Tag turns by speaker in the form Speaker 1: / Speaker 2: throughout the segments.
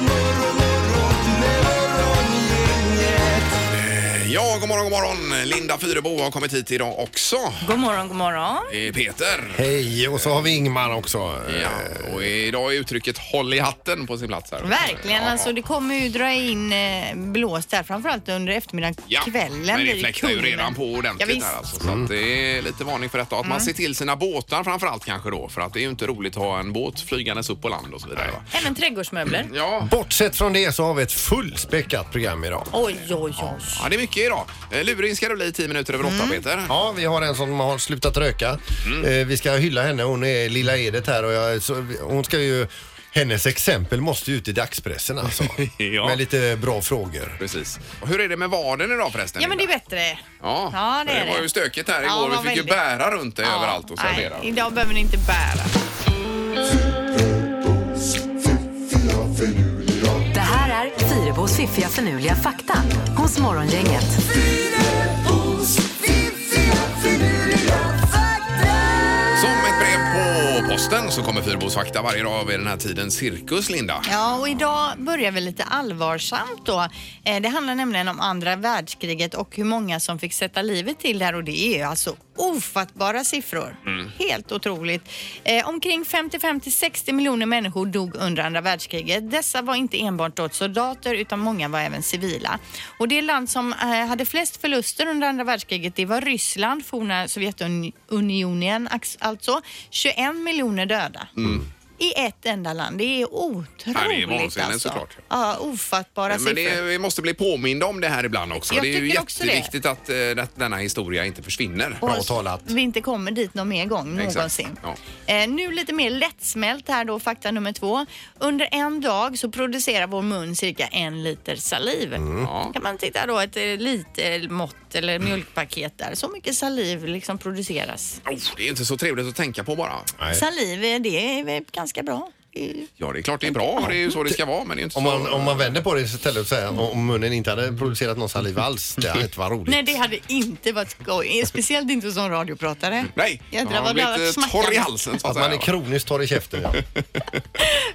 Speaker 1: morgon, Eh, god morgon! Linda Fyrebo har kommit hit idag också.
Speaker 2: God morgon, god morgon.
Speaker 1: Det är Peter.
Speaker 3: Hej, och så har vi Ingmar också.
Speaker 1: Ja, och idag är uttrycket håll i hatten på sin plats här.
Speaker 2: Verkligen,
Speaker 1: Ja,
Speaker 2: alltså det kommer ju dra in eh, blåst där, framförallt under eftermiddagen,
Speaker 1: Ja,
Speaker 2: kvällen.
Speaker 1: men
Speaker 2: blir
Speaker 1: det fläktar ju
Speaker 2: kulmen.
Speaker 1: redan på
Speaker 2: Ja,
Speaker 1: ordentligt
Speaker 2: visst. Mm.
Speaker 1: här alltså. Så att det är lite varning för detta. Att man ser till sina båtar framförallt kanske då. För att det är ju inte roligt att ha en båt flygandes upp på land och så vidare. Va?
Speaker 2: Även trädgårdsmöbler.
Speaker 1: Ja.
Speaker 3: Bortsett från det så har vi ett fullspäckat program idag.
Speaker 2: Oj, oj, oj.
Speaker 1: ja, det är mycket idag. Eh, Luring ska det bli 10 minuter över 8
Speaker 2: Mm.
Speaker 1: Peter.
Speaker 3: Ja, vi har en som har slutat röka. Eh, vi ska hylla henne, hon är Lilla Edet här och jag, så, hon ska ju Hennes exempel måste ju ut i dagspressen alltså.
Speaker 1: Ja.
Speaker 3: Med lite bra frågor.
Speaker 1: Precis. Hur är det med vaden idag förresten?
Speaker 2: Ja, men det är
Speaker 1: Linda?
Speaker 2: bättre.
Speaker 1: Ja,
Speaker 2: Ja, det
Speaker 1: för
Speaker 2: är
Speaker 1: var
Speaker 2: det.
Speaker 1: ju stökigt här
Speaker 2: Ja,
Speaker 1: igår. vi
Speaker 2: vad
Speaker 1: fick ju
Speaker 2: väldigt.
Speaker 1: bära runt det
Speaker 2: Ja,
Speaker 1: överallt och
Speaker 2: nej,
Speaker 1: servera.
Speaker 2: Idag behöver ni inte bära.
Speaker 4: Det här är Fyrabos fiffiga förnuliga fakta hos Morgongänget.
Speaker 1: Som ett brev på posten så kommer Fyrbos fakta varje dag vid den här tiden. Cirkus, Linda.
Speaker 2: Ja, och idag börjar vi lite allvarsamt då. Eh, Det handlar nämligen om andra världskriget och hur många som fick sätta livet till där och det är ju alltså ofattbara siffror. Helt otroligt. Eh, omkring 55 till 60 miljoner människor dog under andra världskriget. Dessa var inte enbart då soldater utan många var även civila. Och det land som eh, hade flest förluster under andra världskriget det var Ryssland, forna Sovjetunionen ax- alltså. 21 miljoner döda i ett enda land. Det är otroligt
Speaker 1: Ja, det är vansinne,
Speaker 2: alltså.
Speaker 1: såklart.
Speaker 2: Ja, ofattbara
Speaker 1: Men det,
Speaker 2: siffror.
Speaker 1: vi måste bli påminda om det här ibland också.
Speaker 2: Jag
Speaker 1: det är ju
Speaker 2: tycker också det.
Speaker 1: jätteviktigt att, eh, att denna historia inte försvinner.
Speaker 2: Och
Speaker 3: Bra talat.
Speaker 2: Vi inte kommer dit någon mer gång
Speaker 1: Exakt,
Speaker 2: någonsin.
Speaker 1: ja.
Speaker 2: Eh, nu lite mer lättsmält här då, fakta nummer två. Under en dag så producerar vår mun cirka en liter saliv.
Speaker 1: Mm. Ja. Mm.
Speaker 2: Kan man titta då ett eh, litet mått eller mjölkpaket där. Så mycket saliv liksom produceras.
Speaker 1: Oh, det är inte så trevligt att tänka på bara.
Speaker 3: Nej.
Speaker 2: Saliv, eh, det är väl ganska bra. Eh, Det är ju-
Speaker 1: Ja, det är klart det är bra. Det är ju så det ska vara. Men det är inte
Speaker 3: Om
Speaker 1: så...
Speaker 3: man, om man vänder på det istället och säger om munnen inte hade producerat någon saliv alls, det hade inte varit roligt.
Speaker 2: Nej, det hade inte varit skoj. Speciellt inte som radiopratare.
Speaker 1: Nej,
Speaker 2: Jädrar
Speaker 1: man har
Speaker 2: vad vi har
Speaker 1: blivit eh,
Speaker 2: varit
Speaker 1: torr i
Speaker 2: smackade.
Speaker 1: halsen så att,
Speaker 3: Att man är
Speaker 1: säga.
Speaker 3: kroniskt torr i käften. Ja.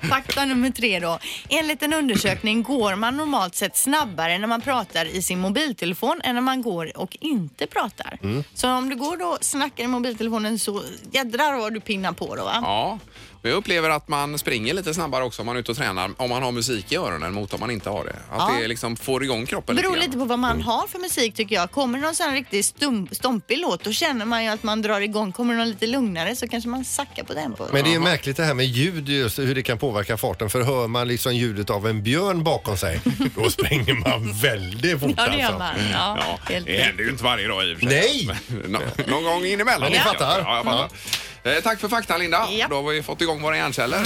Speaker 2: Fakta nummer tre då. Enligt en undersökning går man normalt sett snabbare när man pratar i sin mobiltelefon än när man går och inte pratar.
Speaker 1: Mm.
Speaker 2: Så om du går då och snackar i mobiltelefonen så jädrar vad du pinnar på då va?
Speaker 1: Ja, men jag upplever att man springer lite snabbare också om man är ute och tränar. Om man har musik i öronen mot om man inte har det. Att
Speaker 2: Ja.
Speaker 1: det liksom får igång kroppen
Speaker 2: Det beror
Speaker 1: lite
Speaker 2: lite
Speaker 1: grann. Mm.
Speaker 2: på vad man har för musik tycker jag. Kommer det någon sån här riktigt stum- stompig låt då känner man ju att man drar igång. Kommer det någon lite lugnare så kanske man sackar på den. På.
Speaker 3: Men det är ju märkligt det här med ljud, just hur det kan påverka farten. För hör man liksom ljudet av en björn bakom sig, då springer man väldigt fort
Speaker 2: Ja, det gör
Speaker 3: alltså.
Speaker 2: man. Ja,
Speaker 1: Ja,
Speaker 2: helt
Speaker 1: det händer ju inte varje dag i och för sig.
Speaker 3: Nej!
Speaker 1: Men nå- någon gång in emellan.
Speaker 3: Men ni fattar.
Speaker 1: Ja, jag fattar. Eh, tack för fakta, Linda.
Speaker 2: Ja.
Speaker 1: Då har vi fått igång våra hjärnceller.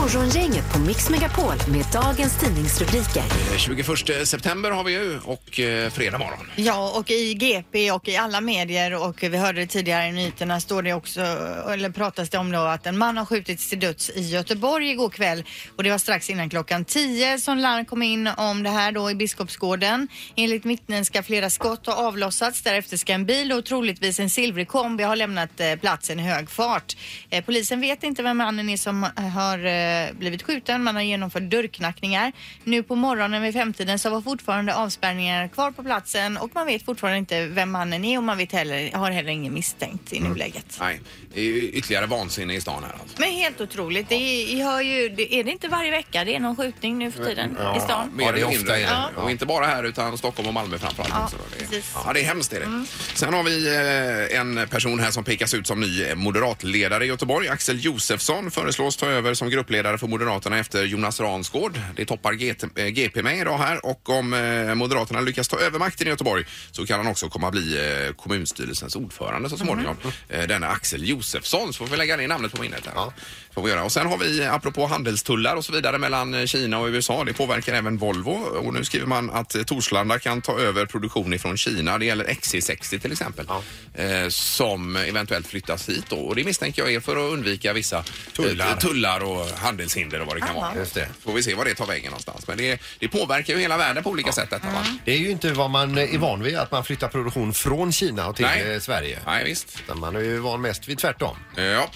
Speaker 4: Morgongänget på Mix Megapol med dagens tidningsrubriker.
Speaker 1: Eh, 21 september har vi ju och eh, fredag morgon.
Speaker 2: Ja, och i GP och i alla medier och vi hörde det tidigare i nyheterna står det också, eller pratas det om då att en man har skjutits till döds i Göteborg igår kväll och det var strax innan klockan 10 som larm kom in om det här då i Biskopsgården. Enligt vittnen ska flera skott ha avlossats, därefter ska en bil och troligtvis en silvrig kombi ha lämnat eh, platsen i hög fart. Eh, Polisen vet inte vem mannen är som har eh, blivit skjuten, man har genomfört dörrknackningar. Nu på morgonen vid femtiden så var fortfarande avspärrningar kvar på platsen och man vet fortfarande inte vem mannen är och man vet heller, har heller ingen misstänkt
Speaker 3: Mm.
Speaker 2: i nuläget.
Speaker 1: Nej, det är ju ytterligare vansinne i stan här alltså.
Speaker 2: Men helt otroligt, det är, jag hör ju, det, är det inte varje vecka det är någon skjutning nu för tiden i stan?
Speaker 1: Mer
Speaker 3: Ja, det är
Speaker 1: eller
Speaker 3: ofta
Speaker 1: mindre.
Speaker 3: är
Speaker 1: Ja.
Speaker 3: det.
Speaker 1: Och inte bara här utan Stockholm och Malmö framförallt.
Speaker 2: Ja,
Speaker 1: också. det, är,
Speaker 2: precis.
Speaker 1: ja, det är hemskt. Är det. Sen har vi eh, en person här som pekas ut som ny eh, moderatledare i Göteborg. Axel Josefsson föreslås ta över som gruppledare för Moderaterna efter Jonas Ransgård. Det toppar GT, eh, GP med idag här och om eh, Moderaterna lyckas ta över makten i Göteborg så kan han också komma att bli eh, kommunstyrelsens ordförande så småningom. Eh, Denna Axel Josefsson, så får vi lägga ner namnet på minnet. Där. Får vi göra. Och sen har vi, apropå handelstullar och så vidare mellan eh, Kina och USA, det påverkar även Volvo. Och nu skriver man att eh, Torslanda kan ta över produktion ifrån Kina. Det gäller XC60 till exempel. Eh, som eventuellt flyttas hit då. Och det misstänker jag är för att undvika vissa eh,
Speaker 3: Tullar.
Speaker 1: tullar och handelshinder och vad det kan vara.
Speaker 3: Just det.
Speaker 1: Får vi se var det tar vägen någonstans. Men det, det påverkar ju hela världen på olika sätt detta va?
Speaker 3: Det är ju inte vad man är van vid, att man flyttar produktion från Kina och till
Speaker 1: Nej.
Speaker 3: eh, Sverige.
Speaker 1: Nej, visst.
Speaker 3: Utan Man är ju van mest vid tvärtom.
Speaker 1: Ja,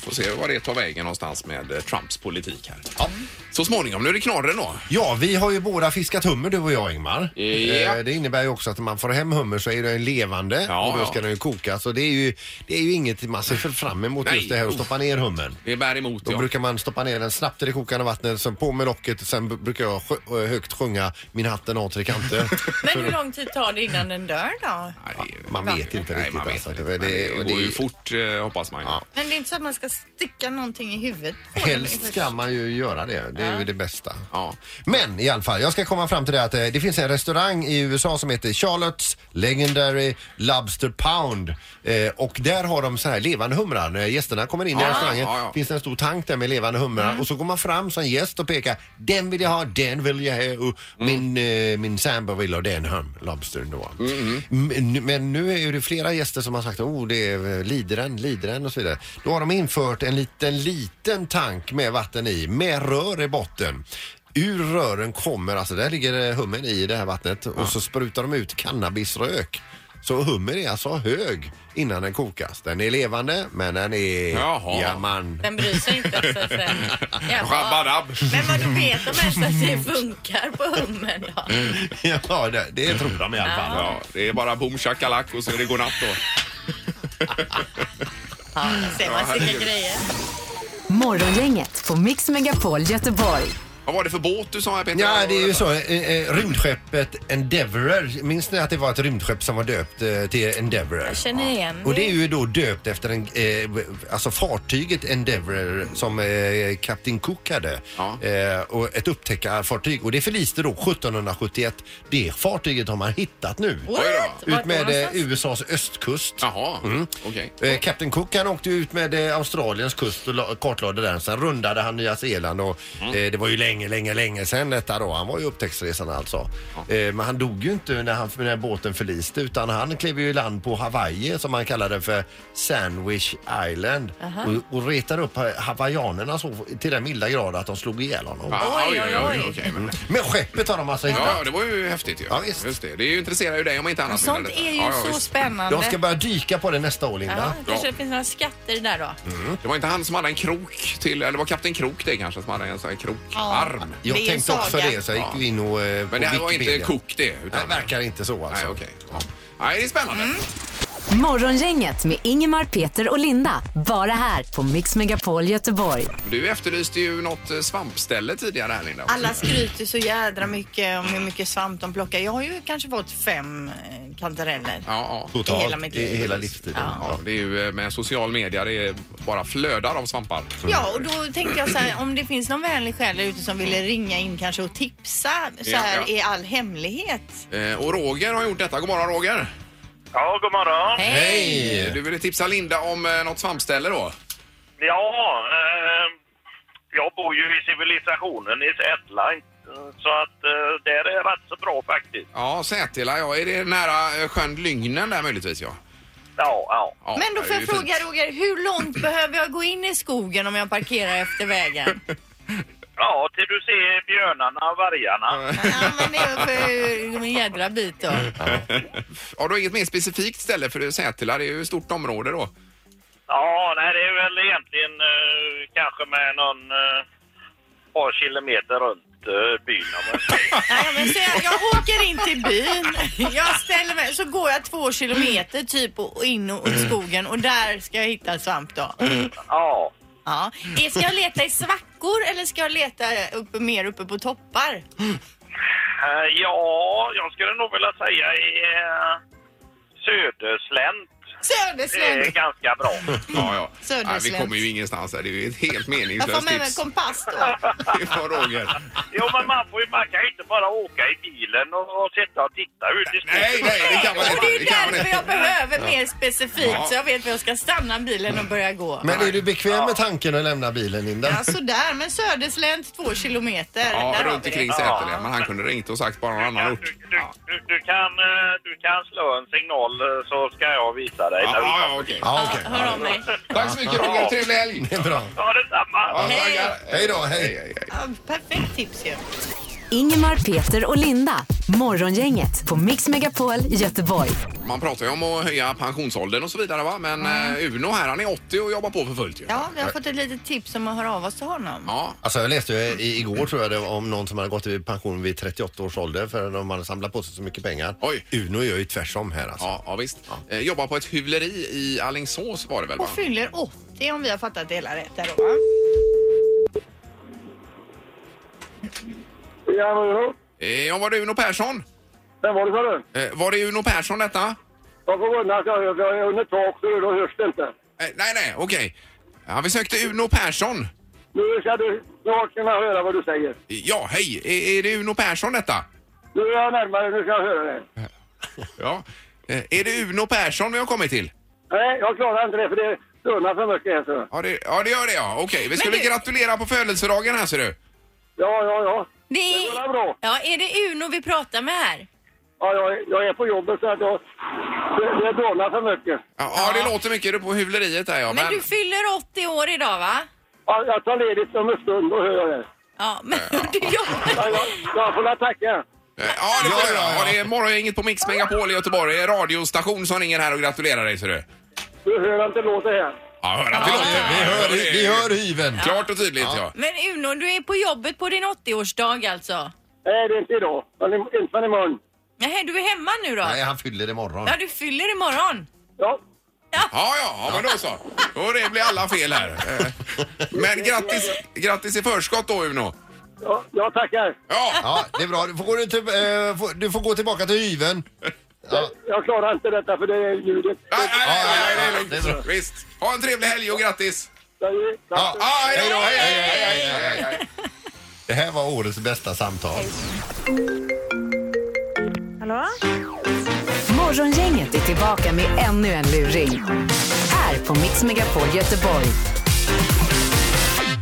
Speaker 1: Får se vad det tar vägen någonstans med eh, Trumps politik här. Så småningom. Nu är det knorren då.
Speaker 3: Ja, vi har ju båda fiskat hummer du och jag Ingmar.
Speaker 1: Ja.
Speaker 3: Eh, Det innebär ju också att när man får hem hummer så är den levande
Speaker 1: Ja,
Speaker 3: och då
Speaker 1: ja.
Speaker 3: ska den ju kokas. Så det är ju, det är ju inget man ser för fram emot
Speaker 1: Nej,
Speaker 3: just det här att
Speaker 1: uff.
Speaker 3: stoppa ner hummern.
Speaker 1: Det bär emot.
Speaker 3: Då
Speaker 1: ja.
Speaker 3: brukar man stoppa ner den snabbt i det kokande vattnet, sen på med locket och sen b- brukar jag sjö- eh, högt sjunga Min hatten har tre kanter.
Speaker 2: Men hur lång tid tar det innan den dör då?
Speaker 1: Nej, det är-
Speaker 3: Man vet inte
Speaker 1: Nej,
Speaker 3: riktigt.
Speaker 1: man vet
Speaker 3: alltså.
Speaker 1: inte.
Speaker 3: Det,
Speaker 1: Men
Speaker 3: det, och
Speaker 1: det
Speaker 3: det,
Speaker 1: går ju fort eh, hoppas man. Ja.
Speaker 2: Men det är inte så att man ska sticka någonting i huvudet på den
Speaker 3: Helst ska man ju göra det. Det är ju det bästa.
Speaker 1: Ja.
Speaker 3: Men i alla fall, jag ska komma fram till det att eh, det finns en restaurang i USA som heter Charlotte's Legendary Lobster Pound. Eh, och där har de så här levande humrar. När gästerna kommer in i
Speaker 1: Ja,
Speaker 3: restaurangen
Speaker 1: Ah, ja, ja.
Speaker 3: finns det en stor tank där med levande humrar. Och så går man fram som gäst och pekar. Den vill jag ha, den vill jag ha. Och min, eh, min sambo vill ha den hum, lobstern då. Men, men nu är ju det flera gäster som har sagt oh det är eh, Lideren, Lideren och så vidare. Då har de infört en liten, liten tank med vatten i, med rör i botten. Ur rören kommer, alltså där ligger eh, hummen i det här vattnet och så sprutar de ut cannabisrök. Så hummer är alltså hög innan den kokas. Den är levande men den är...
Speaker 1: Jaha.
Speaker 3: Ja, man.
Speaker 5: Den bryr sig inte så att säga.
Speaker 1: Shabadab.
Speaker 5: Men vad du vet de ens att det funkar på hummen då?
Speaker 3: Ja, det, det tror de i alla fall.
Speaker 1: Ja, det är bara boom shakalak och så är det godnatt då.
Speaker 5: Ja, ser man
Speaker 1: herregud.
Speaker 5: sticka grejer.
Speaker 4: Morgongänget på Mix Megapol Göteborg.
Speaker 1: Vad var det för båt du sa här Peter?
Speaker 3: Ja, det är ju så. Eh, eh, rymdskeppet Endeavour. Minns ni att det var ett rymdskepp som var döpt eh, till Endeavour?
Speaker 5: Jag känner igen
Speaker 3: Och det är ju då döpt efter en, eh, alltså fartyget Endeavour som eh, kapten Cook hade.
Speaker 1: Ja.
Speaker 3: Eh, och ett upptäckarfartyg. Och det förliste då 1771. Det fartyget har man hittat nu.
Speaker 5: What?
Speaker 1: Oj
Speaker 5: Vart
Speaker 3: Ut
Speaker 5: då
Speaker 3: med eh,
Speaker 5: någonstans?
Speaker 3: USAs östkust.
Speaker 1: Jaha, okej.
Speaker 3: Eh, Captain Cook han åkte ut med eh, Australiens kust och la- kartlade den. Sen rundade han Nya Zeeland och
Speaker 1: Mm.
Speaker 3: eh, det var ju länge, länge, länge sedan detta då. Han var ju upptäcktsresan alltså. Eh, men han dog ju inte när, han, när båten förliste utan han klev ju i land på Hawaii som han kallade för Sandwich Island och, och retade upp ha- hawaiianerna så till den milda grad att de slog ihjäl honom.
Speaker 1: Ah,
Speaker 5: Oj, oj, oj.
Speaker 1: okej, men-
Speaker 3: Men skeppet har de alltså hittat.
Speaker 1: Ja, det var ju häftigt ju.
Speaker 3: Mm. Ja, visst.
Speaker 1: Just det. det är ju intresserar ju dig om inte annat.
Speaker 2: Sånt
Speaker 1: Linda,
Speaker 2: är ju
Speaker 1: detta. Ja, ja,
Speaker 2: så
Speaker 1: visst.
Speaker 2: spännande.
Speaker 3: De ska börja dyka på det nästa år Linda.
Speaker 5: Ja, kanske det finns några skatter där då.
Speaker 1: Det var inte han som hade en krok till, eller det var kapten Krok det kanske som hade en sån här krokarm.
Speaker 3: Jag
Speaker 2: Det är en
Speaker 3: tänkte också
Speaker 2: saga.
Speaker 3: det så jag gick ju in och... Eh, på
Speaker 1: Men det här var inte
Speaker 3: Wikipedia.
Speaker 1: Cook det.
Speaker 3: Nej,
Speaker 1: Utan
Speaker 3: verkar inte så alltså.
Speaker 1: Nej, okej. Ja. Nej, det är spännande.
Speaker 2: Mm.
Speaker 4: Morgongänget med Ingemar, Peter och Linda. Bara här på Mix Megapol Göteborg.
Speaker 1: Du efterlyste ju något eh, svampställe tidigare här Linda.
Speaker 2: Alla skryter så jädra mycket om hur mycket svamp de plockar. Jag har ju kanske fått fem eh, kantareller.
Speaker 1: Ja, ja.
Speaker 3: Totalt,
Speaker 2: I hela mitt liv.
Speaker 3: i hela livstiden.
Speaker 1: ja,
Speaker 3: Ja.
Speaker 1: det är ju eh, med social media, det är bara flödar av svampar.
Speaker 2: Ja, och då tänkte jag så här, om det finns någon vänlig själ där ute som ville ringa in kanske och tipsa så
Speaker 1: Ja,
Speaker 2: här
Speaker 1: ja.
Speaker 2: i all hemlighet.
Speaker 1: Eh, Och Roger har gjort detta. God morgon Roger!
Speaker 6: Ja, god morgon.
Speaker 3: Hej!
Speaker 1: Du ville tipsa Linda om eh, något svampställe då?
Speaker 6: Ja, eh, jag bor ju i civilisationen i Sätline. Så att eh, där är rätt så bra faktiskt.
Speaker 1: Ja, Sätila ja. Är det nära eh, sjön Lygnen där möjligtvis ja?
Speaker 6: Ja, ja.
Speaker 1: ja
Speaker 2: Men då
Speaker 1: det
Speaker 2: får
Speaker 1: är
Speaker 2: jag
Speaker 1: ju
Speaker 2: fråga
Speaker 1: fint.
Speaker 2: Roger, hur långt behöver jag gå in i skogen om jag parkerar efter vägen?
Speaker 6: Ja, till du ser björnarna och vargarna.
Speaker 2: Ja, men det är för en jädra bit då.
Speaker 1: Har du inget mer specifikt ställe för Sätila? Det är ju ett stort område
Speaker 2: Mm.
Speaker 1: då.
Speaker 6: Ja, nej, det är väl egentligen eh, kanske med någon eh, par kilometer runt eh, byn om jag säger.
Speaker 2: Nej, men så jag, jag åker in till byn, jag ställer mig, så går jag två kilometer typ och och in och- i skogen och där ska jag hitta svamp då.
Speaker 6: Ja.
Speaker 2: Ja. Eh, Ska jag leta i svackor eller ska jag leta uppe, mer uppe på toppar?
Speaker 6: Eh, ja, jag skulle nog vilja säga i eh, Söderslänt. Det är
Speaker 1: Eh,
Speaker 2: Södersländ!
Speaker 6: ganska bra.
Speaker 1: Ja, ja. Nej, vi
Speaker 2: Söderslänt.
Speaker 1: kommer ju ingenstans här. Det är ju ett helt
Speaker 2: Jag får
Speaker 1: meningslöst
Speaker 2: med mig en
Speaker 1: tips.
Speaker 2: kompass då.
Speaker 1: ifrån Roger.
Speaker 6: Jo, men man, får ju, man kan ju inte bara åka i bilen och, och sitta och titta ut i skogen.
Speaker 1: Nej, nej, det kan man
Speaker 2: Och det
Speaker 1: inte.
Speaker 2: är
Speaker 1: Det kan man
Speaker 2: därför
Speaker 1: inte.
Speaker 2: jag behöver mer specifikt
Speaker 1: Ja.
Speaker 2: så jag vet var jag ska stanna bilen och börja gå.
Speaker 3: Men är du bekväm med tanken att lämna bilen Linda?
Speaker 2: Ja, sådär, men Söderslänt två kilometer.
Speaker 1: Ja,
Speaker 2: Där har
Speaker 1: runt
Speaker 2: vi det.
Speaker 1: omkring Sätila. Men han kunde ringt och sagt bara någon annan
Speaker 6: Du,
Speaker 1: ort.
Speaker 6: du, du, du, kan, eh, du kan slå en signal eh, så ska jag visa dig.
Speaker 1: Ja,
Speaker 6: när vi-
Speaker 1: ja, ja, okej.
Speaker 3: Ja, okej.
Speaker 5: Hör om dig.
Speaker 1: Tack så mycket Roger, trevlig helg!
Speaker 3: Det är bra.
Speaker 6: Ja, detsamma!
Speaker 1: Ja,
Speaker 5: Hej.
Speaker 1: tackar.
Speaker 3: Hej då, hej.
Speaker 2: Ja, perfekt tips ju.
Speaker 4: Ingemar, Peter och Linda. Morgongänget på Mix Megapol Göteborg.
Speaker 1: Man pratar ju om att höja pensionsåldern och så vidare va? Men eh, Uno här, han är 80 och jobbar på för fullt ju.
Speaker 2: Ja, vi har fått ett litet tips om att höra av oss till honom.
Speaker 1: Ja.
Speaker 3: Alltså jag läste ju i, igår tror jag det var om någon som hade gått i pension vid 38 års ålder för de hade samlat på sig så mycket pengar.
Speaker 1: Oj.
Speaker 3: Uno gör ju tvärsom här alltså.
Speaker 1: Ja, ja visst. Eh, Jobbar på ett hyvleri i Alingsås var det väl? Va?
Speaker 2: Och fyller 80 om vi har fattat det hela rätt här då va?
Speaker 7: Ja, vadå?
Speaker 1: Eh, Ja, var det Uno Persson?
Speaker 7: Vem var det sa du?
Speaker 1: Eh, Var det Uno Persson detta?
Speaker 7: Jag får undra att jag hörs. Jag är under tak så då hörs det inte.
Speaker 1: Eh, Nej, nej, okej. Ja, vi sökte Uno Persson.
Speaker 7: Nu ska du snart kunna höra vad du säger.
Speaker 1: Ja, hej! Eh, Är, är det Uno Persson detta?
Speaker 7: Nu är jag närmare, nu ska jag höra det.
Speaker 1: Ja. Eh, Är det Uno Persson vi har kommit till?
Speaker 7: Nej, jag klarar inte det för det stönar för mycket här så.
Speaker 1: Ja, det, ja, det gör det ja. Okej, vi skulle
Speaker 5: du-
Speaker 1: gratulera på födelsedagen här ser du.
Speaker 7: Ja, ja, ja.
Speaker 5: Det
Speaker 7: Det var
Speaker 5: är,
Speaker 7: bra.
Speaker 5: ja, är det Uno vi pratar med här?
Speaker 7: Ja, jag, jag är på jobbet så att jag... Det, det dånar för mycket.
Speaker 1: Ja, ja. det låter mycket du på hyvleriet där ja.
Speaker 5: Men du fyller 80 år idag va?
Speaker 7: Ja, jag tar ledigt om en stund, då hör jag det.
Speaker 5: Ja, men du
Speaker 7: Ja,
Speaker 5: jobbar...
Speaker 7: jag, jag får la tacka.
Speaker 1: Eh, Ja, det får du göra. Ja, det är morgongänget på Mix Megapol i Göteborg. Det är radiostation som ringer här och gratulerar dig ser du.
Speaker 7: Du hör inte låter här.
Speaker 1: Ja, hör att det låter.
Speaker 3: Vi hör,
Speaker 1: Ja, det är
Speaker 3: vi hör hyven.
Speaker 1: Klart och tydligt ja.
Speaker 5: Men Uno, du är på jobbet på din 80-årsdag alltså?
Speaker 7: Nej, det är inte idag. Men i- inte förrän imorgon.
Speaker 5: Nej, du är hemma nu då?
Speaker 3: Nej, han fyller imorgon.
Speaker 5: Ja, du fyller imorgon.
Speaker 7: Ja,
Speaker 1: Ja, ja, ja men då så. Då det blir alla fel här. Eh, Men grattis, grattis i förskott då Uno.
Speaker 7: ja, jag tackar.
Speaker 1: Ja,
Speaker 3: Ja, det är bra. Du får, gå till, eh, får- du får gå tillbaka till hyven. Ja.
Speaker 7: Jag klarar inte detta för det är ljudet.
Speaker 1: nej, nej, nej, nej, det är lugnt.
Speaker 3: Det är bra.
Speaker 1: Visst. Ha en trevlig helg och grattis.
Speaker 7: Ja.
Speaker 1: Ja, hej då, hej, hej, hej, hej, hej, hej, hej.
Speaker 3: Det här var årets bästa samtal.
Speaker 4: Morgongänget är tillbaka med ännu en luring. Här på Mix Megapol Göteborg.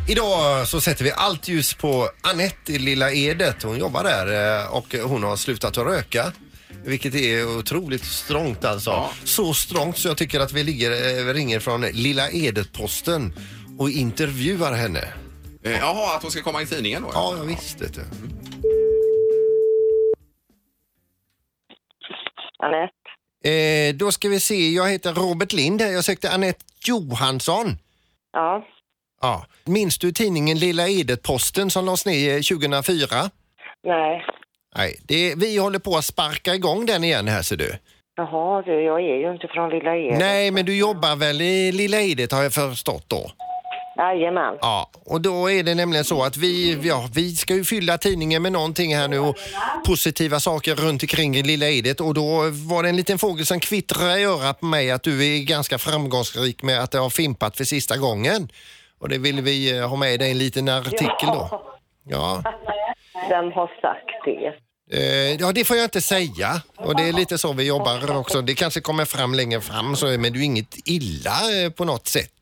Speaker 3: Idag så sätter vi allt ljus på Anette i Lilla Edet. Hon jobbar där eh, och hon har slutat att röka. Vilket är otroligt strångt alltså. Så strångt så jag tycker att vi ligger, eh, ringer från Lilla Edet-posten och intervjuar henne.
Speaker 1: Eh, Jaha, att hon ska komma i tidningen då?
Speaker 3: Ja, ja visst vet du.
Speaker 8: Anette.
Speaker 3: Eh, då ska vi se, jag heter Robert Lind här. Jag sökte Anette Johansson.
Speaker 8: Ja.
Speaker 3: Ja. Minns du tidningen Lilla Edet-posten som lades ner 2004?
Speaker 8: Nej.
Speaker 3: Nej, det, vi håller på att sparka igång den igen här ser du.
Speaker 8: Jaha, du, jag är ju inte från Lilla E. Edet.
Speaker 3: Nej, men du jobbar väl i Lilla Edet har jag förstått då?
Speaker 8: Jajamän.
Speaker 3: Ja, och då är det nämligen så att vi, ja, vi ska ju fylla tidningen med någonting här nu och positiva saker runt omkring i Lilla Edet och då var det en liten fågel som kvittrade i örat på mig att du är ganska framgångsrik med att du har fimpat för sista gången. Och det vill vi eh, ha med dig i en liten artikel då. Ja.
Speaker 8: Vem har sagt det?
Speaker 3: Eh, ja, det får jag inte säga. Och det är lite så vi jobbar också. Det kanske kommer fram längre fram, så, men det är ju inget illa eh, på något sätt.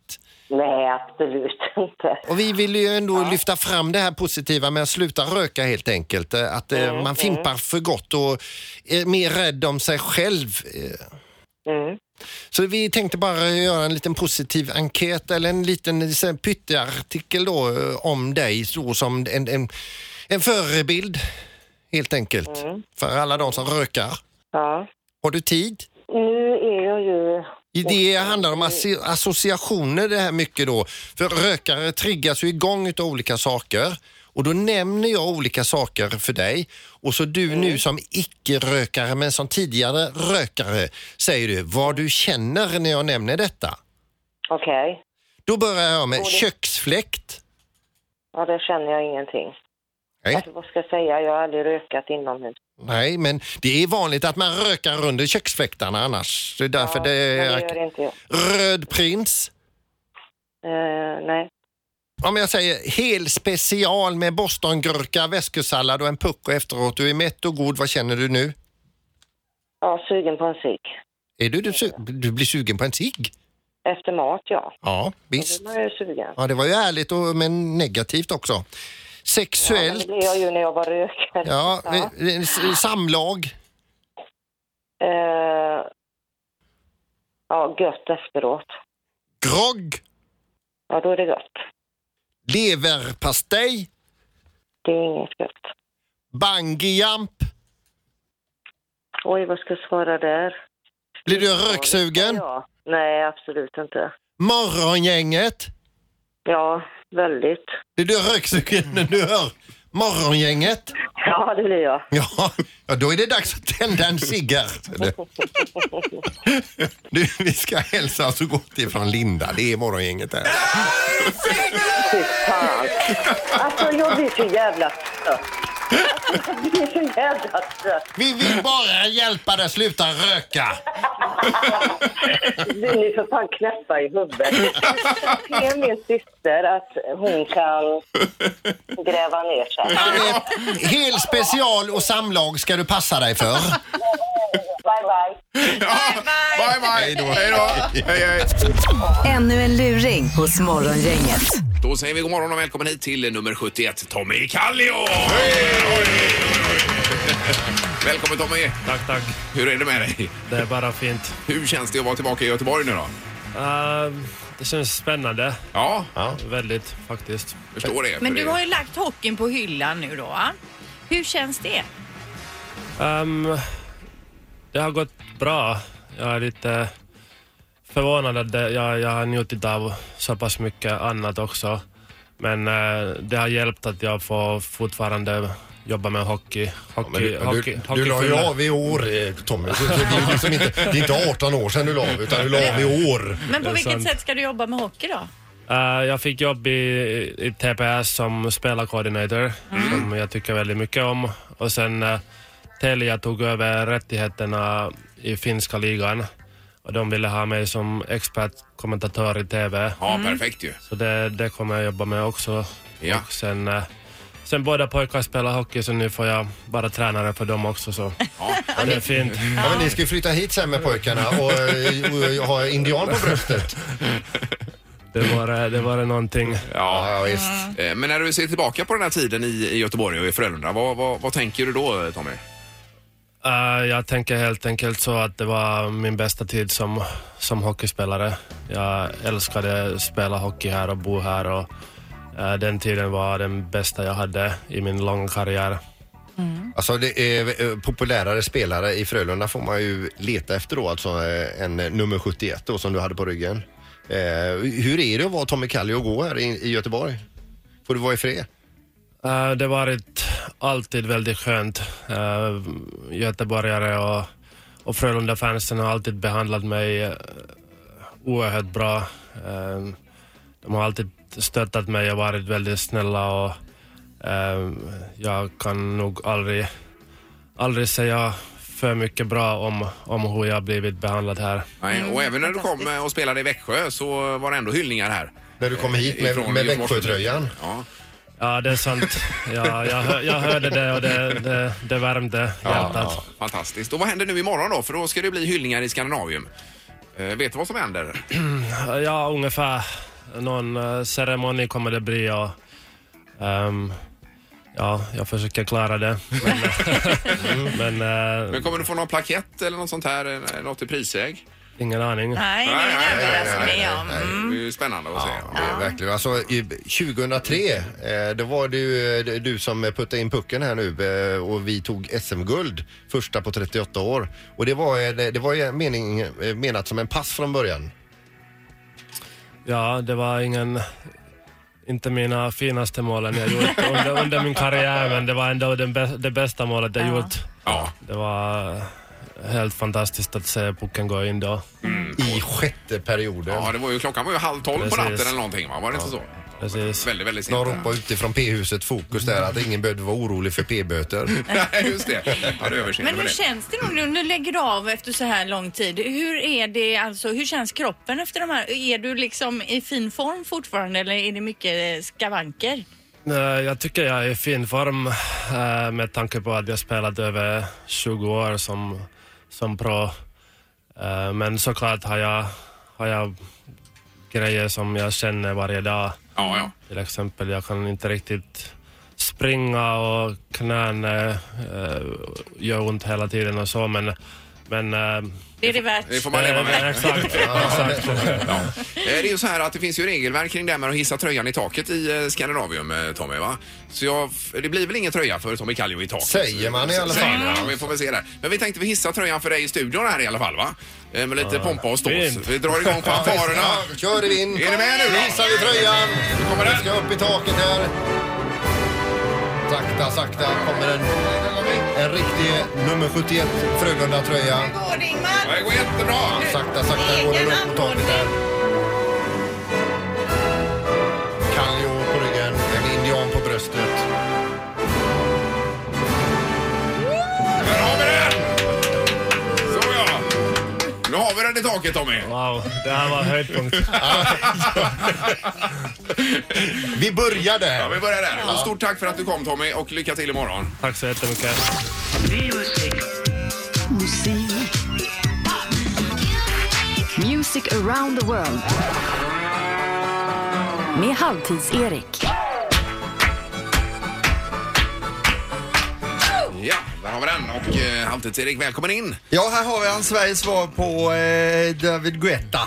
Speaker 8: Nej, absolut inte.
Speaker 3: Och vi vill ju ändå lyfta fram det här positiva med att sluta röka helt enkelt. Eh, Att eh, man fimpar för gott och är mer rädd om sig själv. eh.
Speaker 8: Mm.
Speaker 3: Så vi tänkte bara göra en liten positiv enkät eller en liten eh, så här, pytteartikel då eh, om dig så som en, en, en förebild helt enkelt. För alla de som rökar.
Speaker 8: Ja.
Speaker 3: Har du tid?
Speaker 8: Nu är jag ju...
Speaker 3: I Det handlar om assi- associationer det här mycket då. För rökare triggas ju igång utav olika saker. Och då nämner jag olika saker för dig. Och så du
Speaker 8: Mm.
Speaker 3: nu som icke-rökare men som tidigare rökare säger du vad du känner när jag nämner detta.
Speaker 8: Okej.
Speaker 3: Då börjar jag med
Speaker 8: Och det-
Speaker 3: köksfläkt.
Speaker 8: Ja, det känner jag ingenting.
Speaker 3: Nej.
Speaker 8: Alltså, vad ska jag säga? Jag har aldrig rökat inomhus.
Speaker 3: Nej, men det är vanligt att man rökar under köksfläktarna annars. Det är därför det
Speaker 8: Men
Speaker 3: är...
Speaker 8: det gör inte jag.
Speaker 3: Röd prins.
Speaker 8: Eh, nej.
Speaker 3: Om jag säger hel special med bostongurka, väskusallad och en pucko efteråt. Du är mätt och god. Vad känner du nu?
Speaker 8: Ja, sugen på en cigg.
Speaker 3: Är du, du, su- du blir sugen på en cigg?
Speaker 8: Efter mat, ja.
Speaker 3: Ja,
Speaker 8: Då
Speaker 3: visst.
Speaker 8: blir man ju sugen.
Speaker 3: Ja, det var ju ärligt och, men negativt också.
Speaker 8: Men det
Speaker 3: Sexuellt.
Speaker 8: blev jag ju när jag var rökare.
Speaker 3: Ja, eh, eh, s- samlag.
Speaker 8: Eh, ja, gött efteråt.
Speaker 3: Grogg.
Speaker 8: Ja, då är det gött.
Speaker 3: Leverpastej.
Speaker 8: Det är inget gött.
Speaker 3: Bungee jump.
Speaker 8: Oj, vad ska jag svara där?
Speaker 3: Blir du röksugen?
Speaker 8: Ja. Nej, absolut inte.
Speaker 3: Morgongänget.
Speaker 8: Ja, väldigt.
Speaker 3: Blir du röksugen när du hör morgongänget?
Speaker 8: Ja, det blir jag.
Speaker 3: Ja, ja, då är det dags att tända en cigarett. Du, vi ska hälsa så gott ifrån Linda. Det är morgongänget här.
Speaker 8: Fy fan. Alltså, jag blir så jävla trött. Alltså, jag blir så jävla trött.
Speaker 3: Vi vill bara hjälpa dig sluta röka.
Speaker 8: Du ni för fan knäppa i huvudet. Se min syster att hon kan gräva ner sig.
Speaker 3: Han är hel special och samlag ska du passa dig för.
Speaker 8: Bye, bye.
Speaker 1: Ja, bye, bye! Hej då! Hej, hej.
Speaker 4: Ännu en luring hos Morgongänget.
Speaker 1: Då säger vi god morgon och välkommen hit till nummer 71, Tommy Kallio! Välkommen Tommy!
Speaker 9: Tack, tack.
Speaker 1: Hur är det med dig?
Speaker 9: Det är bara fint.
Speaker 1: Hur känns det att vara tillbaka i Göteborg nu då?
Speaker 9: Eh, det känns spännande.
Speaker 1: Ja,
Speaker 9: Väldigt, faktiskt.
Speaker 1: förstår det.
Speaker 5: Men
Speaker 1: för
Speaker 5: du
Speaker 1: det-
Speaker 5: har ju lagt hockeyn på hyllan nu då. va? Hur känns det?
Speaker 9: Ehm, det har gått bra. Jag är lite förvånad att det, jag, jag har njutit av så pass mycket annat också. Men eh, det har hjälpt att jag får fortfarande jobba med hockey. hockey, hockey,
Speaker 3: du la ju
Speaker 9: hockeyfylla.
Speaker 3: av i år eh, Tommy. Så, så det, är ju liksom inte, det är inte 18 år sedan du la av utan du la av i år.
Speaker 5: Men på
Speaker 9: är
Speaker 5: vilket
Speaker 9: sant.
Speaker 5: sätt ska du jobba med hockey då?
Speaker 9: Eh, jag fick jobb i, i TPS som spelarkoordinator, som jag tycker väldigt mycket om. Och sen eh, Telia tog över rättigheterna i finska ligan. Och de ville ha mig som expertkommentatör i TV.
Speaker 1: Ja,
Speaker 5: Mm.
Speaker 1: perfekt ju.
Speaker 9: Så det, det kommer jag jobba med också.
Speaker 1: Ja.
Speaker 9: Och sen, eh, sen båda pojkar spelar hockey så nu får jag bara tränare för dem också. Så. det är fint.
Speaker 3: Ja, men ni ska ju flytta hit sen med pojkarna och, eh, och ha indian på bröstet.
Speaker 9: Det var, eh, det var någonting.
Speaker 1: Ja.
Speaker 3: Ja, visst.
Speaker 1: Eh, Men när du ser tillbaka på den här tiden i i Göteborg och i Frölunda, vad, vad, vad tänker du då Tommy?
Speaker 9: Eh, jag tänker helt enkelt så att det var min bästa tid som, som hockeyspelare. Jag älskade spela hockey här och bo här. Och, eh, den tiden var den bästa jag hade i min långa karriär.
Speaker 3: Alltså det är eh, populärare spelare i Frölunda får man ju leta efter då, alltså eh, en nummer 71 då som du hade på ryggen. Eh, hur är det att vara Tommy Kallio och gå här i, i Göteborg? Får du vara i fred?
Speaker 9: Eh, det har varit alltid väldigt skönt. Eh, göteborgare och, och Frölunda-fansen har alltid behandlat mig eh, oerhört bra. Eh, de har alltid stöttat mig och varit väldigt snälla. Och, eh, jag kan nog aldrig, aldrig säga för mycket bra om, om hur jag blivit behandlad här.
Speaker 1: Nej,
Speaker 5: Mm,
Speaker 1: och även när du kom eh, och spelade i Växjö så var det ändå hyllningar här.
Speaker 3: När du kom hit med,
Speaker 1: Ifrån
Speaker 3: med
Speaker 1: Göteborgs-
Speaker 3: Växjötröjan?
Speaker 1: Ja.
Speaker 9: Ja, det är sant. Ja, jag, hör, jag hörde det och det, det, det värmde hjärtat.
Speaker 1: Fantastiskt. Och vad händer nu imorgon då? För då ska det bli hyllningar i Skandinavium. Eh, vet du vad som händer?
Speaker 9: Ja, ungefär. Någon eh, ceremoni kommer det bli och... ehm, ja, jag försöker klara det. Men, men eh,
Speaker 1: Men kommer du få någon plakett eller något sånt här? eh, Något i prisväg?
Speaker 9: ingen aning.
Speaker 5: Nej, det är
Speaker 1: Nej,
Speaker 5: en
Speaker 1: nej, nej,
Speaker 5: överraskning. ja. Mm.
Speaker 1: Det är ju spännande att se.
Speaker 3: Ja, det är verkligen. Alltså, i 2003, eh, då var det ju eh, du som puttade in pucken här nu eh, och vi tog SM-guld, första på 38 år. Och det var, eh, det det var ju mening, eh, menat som en pass från början.
Speaker 9: Ja, det var ingen... Inte mina finaste målen jag gjort under, under min karriär, men det var ändå den bä, det bästa målet jag gjort.
Speaker 1: Ja.
Speaker 9: Det var eh, helt fantastiskt att se pucken gå in då.
Speaker 3: I sjätte perioden.
Speaker 1: Ja, det var ju, klockan var ju halv tolv
Speaker 9: Precis.
Speaker 1: på natten eller någonting va? Var det inte så?
Speaker 9: Precis.
Speaker 1: Väldigt, väldigt sent.
Speaker 3: De ropade utifrån P-huset Fokus där att ingen behövde vara orolig för P-böter.
Speaker 1: Nej, just det. Ja, det överseende
Speaker 5: Men
Speaker 1: med
Speaker 5: hur
Speaker 1: det.
Speaker 5: känns det nu? Nu lägger du av efter så här lång tid. Hur är det alltså? Hur känns kroppen efter de här? Är du liksom i fin form fortfarande eller är det mycket eh, skavanker?
Speaker 9: Nej, Eh, Jag tycker jag är i fin form eh, med tanke på att jag spelat över 20 år som, som pro. Eh, Men såklart har jag, har jag grejer som jag känner varje dag.
Speaker 1: Ja, ja.
Speaker 9: Till exempel, jag kan inte riktigt springa och knäna eh, gör ont hela tiden och så, men, men eh,
Speaker 5: Det är det värt.
Speaker 1: Det får man leva med.
Speaker 9: Eh, Exakt, exakt.
Speaker 1: Ja. Eh, Det är ju så här att det finns ju regelverk kring det här med att hissa tröjan i taket i eh, Skandinavium, eh, Tommy. Va? Så jag, f- det blir väl ingen tröja för Tommy Kallio i taket?
Speaker 3: Säger man i alla
Speaker 1: Säger
Speaker 3: fall,
Speaker 1: man,
Speaker 3: ja.
Speaker 1: Vi får väl se där. Men vi tänkte vi hissa tröjan för dig i studion här i alla fall, va? Eh, Med lite pompa och stås.
Speaker 9: fint.
Speaker 1: Vi drar igång fanfarerna.
Speaker 3: Ja, kör vi in.
Speaker 1: Är ni med nu då?
Speaker 3: Visar vi tröjan.
Speaker 1: Nu kommer den.
Speaker 3: ska upp i taket här. Sakta, sakta kommer en, en riktig nummer 71 Frölunda-tröja.
Speaker 2: Går det, Ingmar?
Speaker 1: Det går jättebra!
Speaker 3: Sakta, sakta går den upp mot taket där. Kaljo på ryggen, en indian på bröstet.
Speaker 1: Där har vi den! Så ja. Nu har vi den i taket, Tommy.
Speaker 9: Wow, det här var höjdpunkt.
Speaker 3: Vi börjar
Speaker 1: Ja, vi
Speaker 3: där.
Speaker 1: börjar där. Och stort tack för att du kom, Tommy, och lycka till imorgon.
Speaker 9: Tack så jättemycket.
Speaker 4: Music around the world. Med Halvtids-Erik.
Speaker 1: Ja, där har vi den. Och eh, Halvtids-Erik, välkommen in.
Speaker 10: Ja, här har vi han Sveriges svar på eh, David Guetta.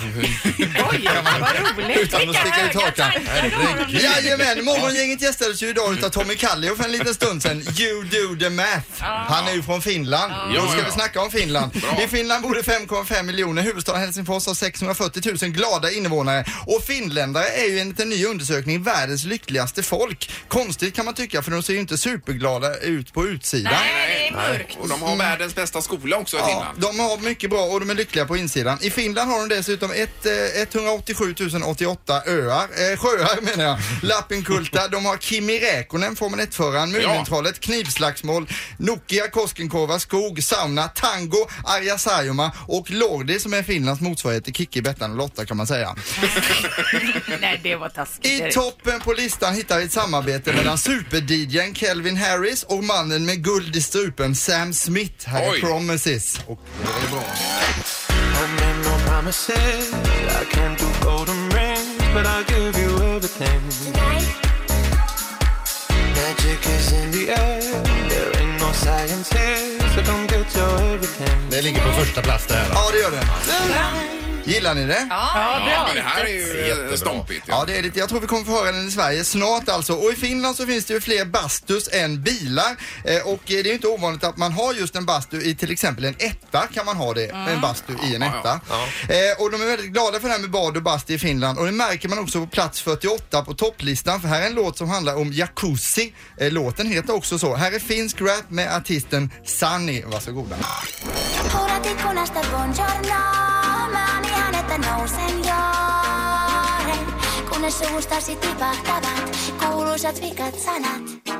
Speaker 5: Oj, vad roligt.
Speaker 10: Utan att
Speaker 5: Vilka
Speaker 10: sticka i
Speaker 5: höga
Speaker 10: takan.
Speaker 5: tankar du har om dig.
Speaker 10: Jajamän, morgongänget gästades ju idag utav Tommy Kallio för en liten stund sedan. You do the math. Han är ju från Finland.
Speaker 1: Ja,
Speaker 10: Då
Speaker 1: ja,
Speaker 10: ska
Speaker 1: ja.
Speaker 10: vi snacka om Finland.
Speaker 1: Bra.
Speaker 10: I Finland bor det 5,5 miljoner. Huvudstaden Helsingfors har 640 000 glada invånare. Och finländare är ju enligt en ny undersökning världens lyckligaste folk. Konstigt kan man tycka för de ser ju inte superglada ut på utsidan.
Speaker 5: Nej, det är mörkt.
Speaker 1: Och de har världens bästa skola också i
Speaker 10: Ja,
Speaker 1: Finland.
Speaker 10: de har mycket bra och de är lyckliga på insidan. I Finland har de dessutom ett, eh, 187 088 öar, eh, sjöar menar jag. Lappinkulta, de har Kimi Räkonen, Formel 1-föraren, Mumintrollet, knivslagsmål, Nokia, Koskenkorva, skog, sauna, tango, Arja Saijonmaa och Lordi som är Finlands motsvarighet till Kikki, Bettan och Lotta kan man säga.
Speaker 5: Nej, det var taskigt.
Speaker 10: I
Speaker 5: Erik.
Speaker 10: toppen på listan hittar vi ett samarbete mellan super Kelvin Harris och mannen med guld i strupen Sam Smith. Här
Speaker 1: Oj.
Speaker 10: är Promises. Och det är bra.
Speaker 3: Det ligger på första plats det här.
Speaker 10: Ja, det gör det. Gillar ni det?
Speaker 5: Ja, bra.
Speaker 1: Ja, det här är ju eh, stompigt.
Speaker 10: Ja, det är det. Jag tror vi kommer få höra den i Sverige snart alltså. Och i Finland så finns det ju fler bastus än bilar. Eh, och eh, det är ju inte ovanligt att man har just en bastu i till exempel en etta kan man ha det. En bastu i en
Speaker 1: Ja, ja,
Speaker 10: etta. Eh, och de är väldigt glada för det här med bad och bastu i Finland. Och det märker man också på plats 48 på topplistan. För här är en låt som handlar om jacuzzi. Eh, låten heter också så. Här är finsk rap med artisten Sunny. Varsågoda.
Speaker 11: Tikkunasta buongiorno, maani hänettä nousen joren, kunnes suustasi tipahtavat kuuluisat vikat sanat.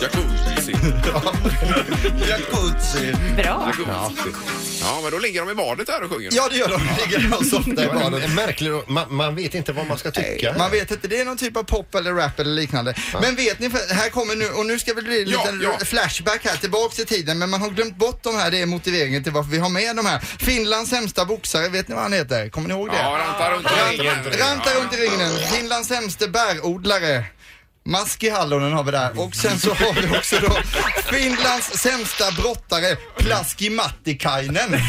Speaker 11: Jacuzzi. Jacuzzi, jacuzzi.
Speaker 1: Jacuzzi.
Speaker 10: Jacuzzi.
Speaker 5: Bra.
Speaker 1: Jacuzzi. Ja, men då ligger de i badet där och sjunger.
Speaker 10: Ja, det gör de. Ligger och softar i
Speaker 3: En,
Speaker 10: badet.
Speaker 3: en märklig, man, man vet inte vad man ska tycka.
Speaker 10: Man vet inte, det är någon typ av pop eller rap eller liknande. Men vet ni, för- här kommer nu, och nu ska vi bli en
Speaker 1: Ja,
Speaker 10: liten
Speaker 1: ja.
Speaker 10: flashback här tillbaks i tiden, men man har glömt bort de här, det är motiveringen till varför vi har med de här. Finlands sämsta boxare, vet ni vad han heter? Kommer ni ihåg det?
Speaker 1: Ja, ranta runt i ringen.
Speaker 10: Ranta runt i ringen, Finlands sämste bärodlare. Maski Hallonen har vi där och sen så har vi också då Finlands sämsta brottare Plaski Mattikainen.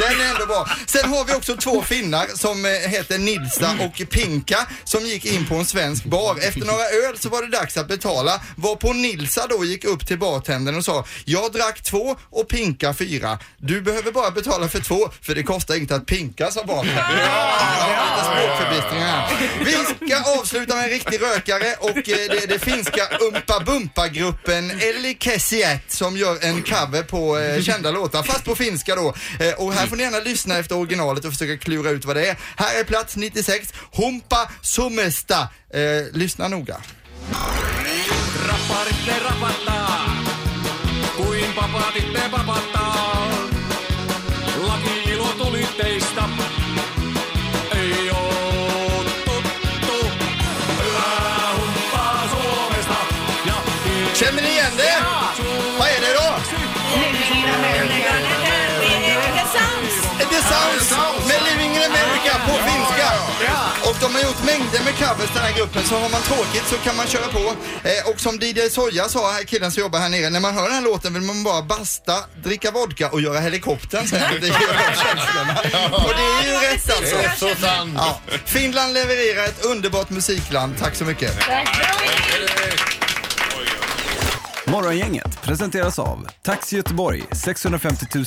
Speaker 10: Den är ändå bra. Sen har vi också två finnar som eh, heter Nilsa och Pinka som gick in på en svensk bar. Efter några öl så var det dags att betala varpå Nilsa då gick upp till bartendern och sa Jag drack två och Pinka fyra. Du behöver bara betala för två för det kostar inte att pinka sa bartendern. Ja, lite språkförbistring här. Vi ska avsluta med en riktig rökare och eh, det, det finska Umpa Bumpa-gruppen Elli Kessiet som gör en cover på eh, kända låtar, fast på finska då. Eh, och här får ni gärna lyssna efter originalet och försöka klura ut vad det är. Här är plats 96, Humpa Sumesta. Eh, lyssna noga. Känner ni igen det? Vad är det då?
Speaker 5: Det är sant.
Speaker 10: The Sounds med Living in America på finska. Och de De har gjort mängder med covers den här gruppen, så har man tråkigt så kan man köra på. Eh, och som DJ Soja sa, här killen som jobbar här nere, när man hör den här låten vill man bara basta, dricka vodka och göra helikoptern sen. Det är ju- och det är ju rätt alltså.
Speaker 3: Det är så sant.
Speaker 10: Ja. Finland levererar ett underbart musikland. Tack så mycket.
Speaker 12: Morgongänget presenteras av Taxi Göteborg 650 000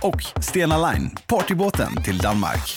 Speaker 12: och Stena Line, partybåten till Danmark.